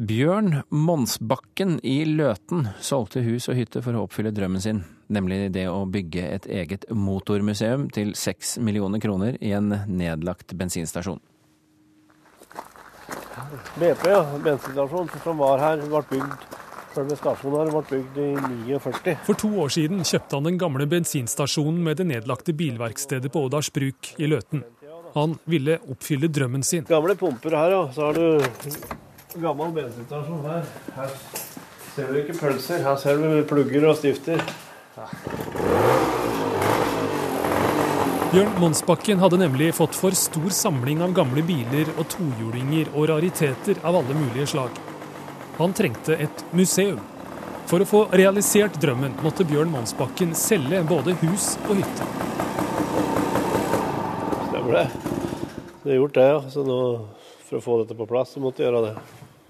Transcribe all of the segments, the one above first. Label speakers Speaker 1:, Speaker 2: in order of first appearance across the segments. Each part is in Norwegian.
Speaker 1: Bjørn Monsbakken i Løten solgte hus og hytte for å oppfylle drømmen sin, nemlig det å bygge et eget motormuseum til seks millioner kroner i en nedlagt bensinstasjon.
Speaker 2: BP, ja, bensinstasjon som var her, ble bygd Selve stasjonen her ble bygd i 49.
Speaker 3: For to år siden kjøpte han den gamle bensinstasjonen med det nedlagte bilverkstedet på Ådals Bruk i Løten. Han ville oppfylle drømmen sin.
Speaker 2: Gamle pumper her, ja. Så har du gammel bensinstasjon her. Her ser du ikke pølser. Her ser du plugger og stifter.
Speaker 3: Bjørn Monsbakken hadde nemlig fått for stor samling av gamle biler og tohjulinger og rariteter av alle mulige slag. Han trengte et museum. For å få realisert drømmen måtte Bjørn Monsbakken selge både hus og hytte.
Speaker 2: Stemmer det. Det er gjort, det, ja. Så nå, for å få dette på plass, så måtte jeg gjøre det.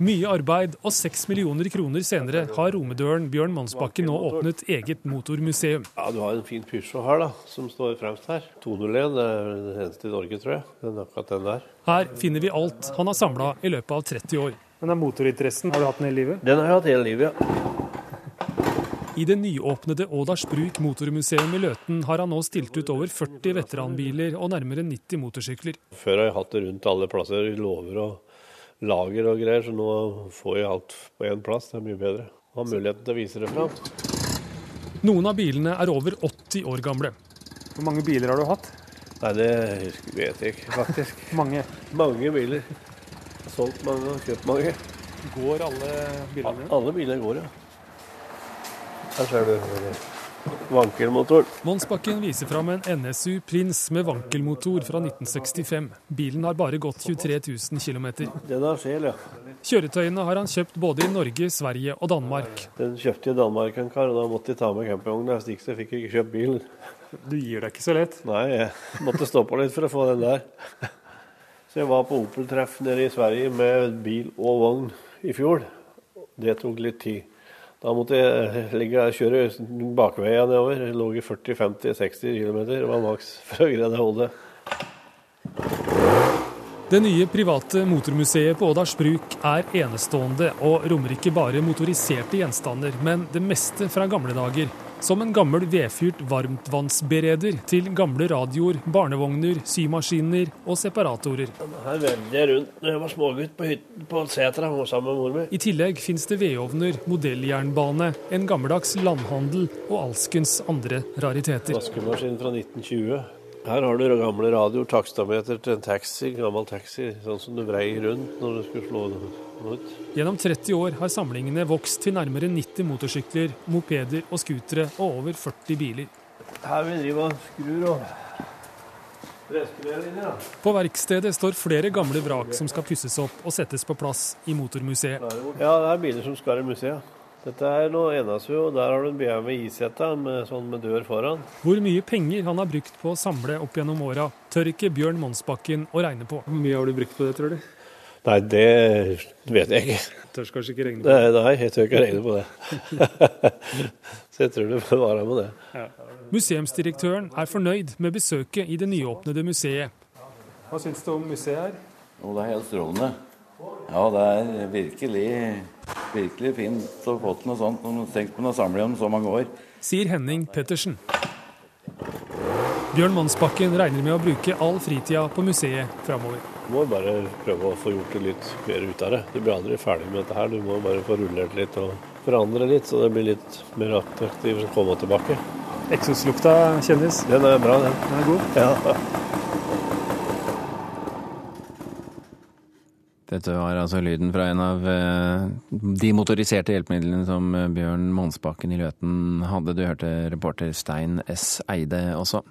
Speaker 3: Mye arbeid og seks millioner kroner senere har romedøren Bjørn Monsbakken nå åpnet eget motormuseum.
Speaker 2: Ja, Du har en fin Peugeot her, da, som står fremst her. 201. Det er den eneste i Norge, tror jeg. Den akkurat den der.
Speaker 3: Her finner vi alt han har samla i løpet av 30 år.
Speaker 4: Men den motorinteressen, har du hatt den hele livet?
Speaker 2: Den har jeg hatt hele livet, ja.
Speaker 3: I det nyåpnede Ådals Bruk motormuseum i Løten har han nå stilt ut over 40 veteranbiler og nærmere 90 motorsykler.
Speaker 2: Før har jeg hatt det rundt alle plasser, i låver og lager og greier, så nå får jeg alt på én plass. Det er mye bedre. Har muligheten til å vise det fram.
Speaker 3: Noen av bilene er over 80 år gamle.
Speaker 4: Hvor mange biler har du hatt?
Speaker 2: Nei, det husker- vet jeg ikke, faktisk.
Speaker 4: Mange.
Speaker 2: Mange biler. Solgt mange og kjøpt mange.
Speaker 4: Går alle bilene dine?
Speaker 2: Alle biler går, ja. Her ser du vankelmotoren.
Speaker 3: Monsbakken viser fram en NSU Prins med vankelmotor fra 1965. Bilen har bare gått 23 000 km.
Speaker 2: Den har sjel, ja.
Speaker 3: Kjøretøyene har han kjøpt både i Norge, Sverige og Danmark.
Speaker 2: Den kjøpte jeg i Danmark en kar, og da måtte jeg ta med campingvogna. Hvis ikke så fikk jeg ikke kjøpt bilen.
Speaker 4: Du gir deg ikke så lett.
Speaker 2: Nei, jeg måtte stå på litt for å få den der. Så jeg var på Opel-treff nede i Sverige med bil og vogn i fjor. Det tok litt tid. Da måtte jeg ligge og kjøre bakveien nedover. Jeg lå i 40-50-60 km, det var maks for å greie det hodet.
Speaker 3: Det nye private motormuseet på Ådals Bruk er enestående og rommer ikke bare motoriserte gjenstander, men det meste fra gamle dager. Som en gammel vedfyrt varmtvannsbereder til gamle radioer, barnevogner, symaskiner og separatorer.
Speaker 2: Her vevde jeg rundt når jeg var smågutt på hytten på setra sammen med mor mi.
Speaker 3: I tillegg fins det vedovner, modelljernbane, en gammeldags landhandel og alskens andre rariteter.
Speaker 2: Vaskemaskin fra 1920. Her har du gamle radioer, takstameter til en taxi, gammel taxi, sånn som du vrei rundt når du skulle slå den ut.
Speaker 3: Gjennom 30 år har samlingene vokst til nærmere 90 motorsykler, mopeder og scootere og over 40 biler.
Speaker 2: Her vi driver og skrur og restaurerer inni, da.
Speaker 3: På verkstedet står flere gamle vrak som skal pusses opp og settes på plass i motormuseet.
Speaker 2: Ja, det er biler som skal i museet. Dette er noe NSU, og der har du en BMW iseta med, sånn med dør foran.
Speaker 3: Hvor mye penger han har brukt på å samle opp gjennom åra, tør ikke Bjørn Monsbakken å regne på.
Speaker 4: Hvor mye har du brukt på det, tror du?
Speaker 2: Nei, det vet jeg ikke.
Speaker 4: Tørs kanskje ikke regne på det.
Speaker 2: Nei, nei jeg tør ikke regne på det. Så jeg tror det får være med det.
Speaker 3: Museumsdirektøren er fornøyd med besøket i det nyåpnede museet.
Speaker 4: Hva syns du om museet her?
Speaker 5: Jo, det er helt strålende. Ja, det er virkelig, virkelig fint å få til noe sånt. når man- Tenk på noe samling om så mange år.
Speaker 3: sier Henning Pettersen. Bjørn Mannsbakken regner med å bruke all fritida på museet framover.
Speaker 2: Du må bare prøve å få gjort det litt mer ut av det. Du blir aldri ferdig med dette her. Du må bare få rullert litt og forandre litt, så det blir litt mer attraktivt å komme tilbake.
Speaker 4: Eksoslukta kjennes.
Speaker 2: Den er bra, den.
Speaker 4: Den er god.
Speaker 2: Ja.
Speaker 1: Dette var altså lyden fra en av eh, de motoriserte hjelpemidlene som eh, Bjørn Monsbakken i Løten hadde. Du hørte reporter Stein S. Eide også.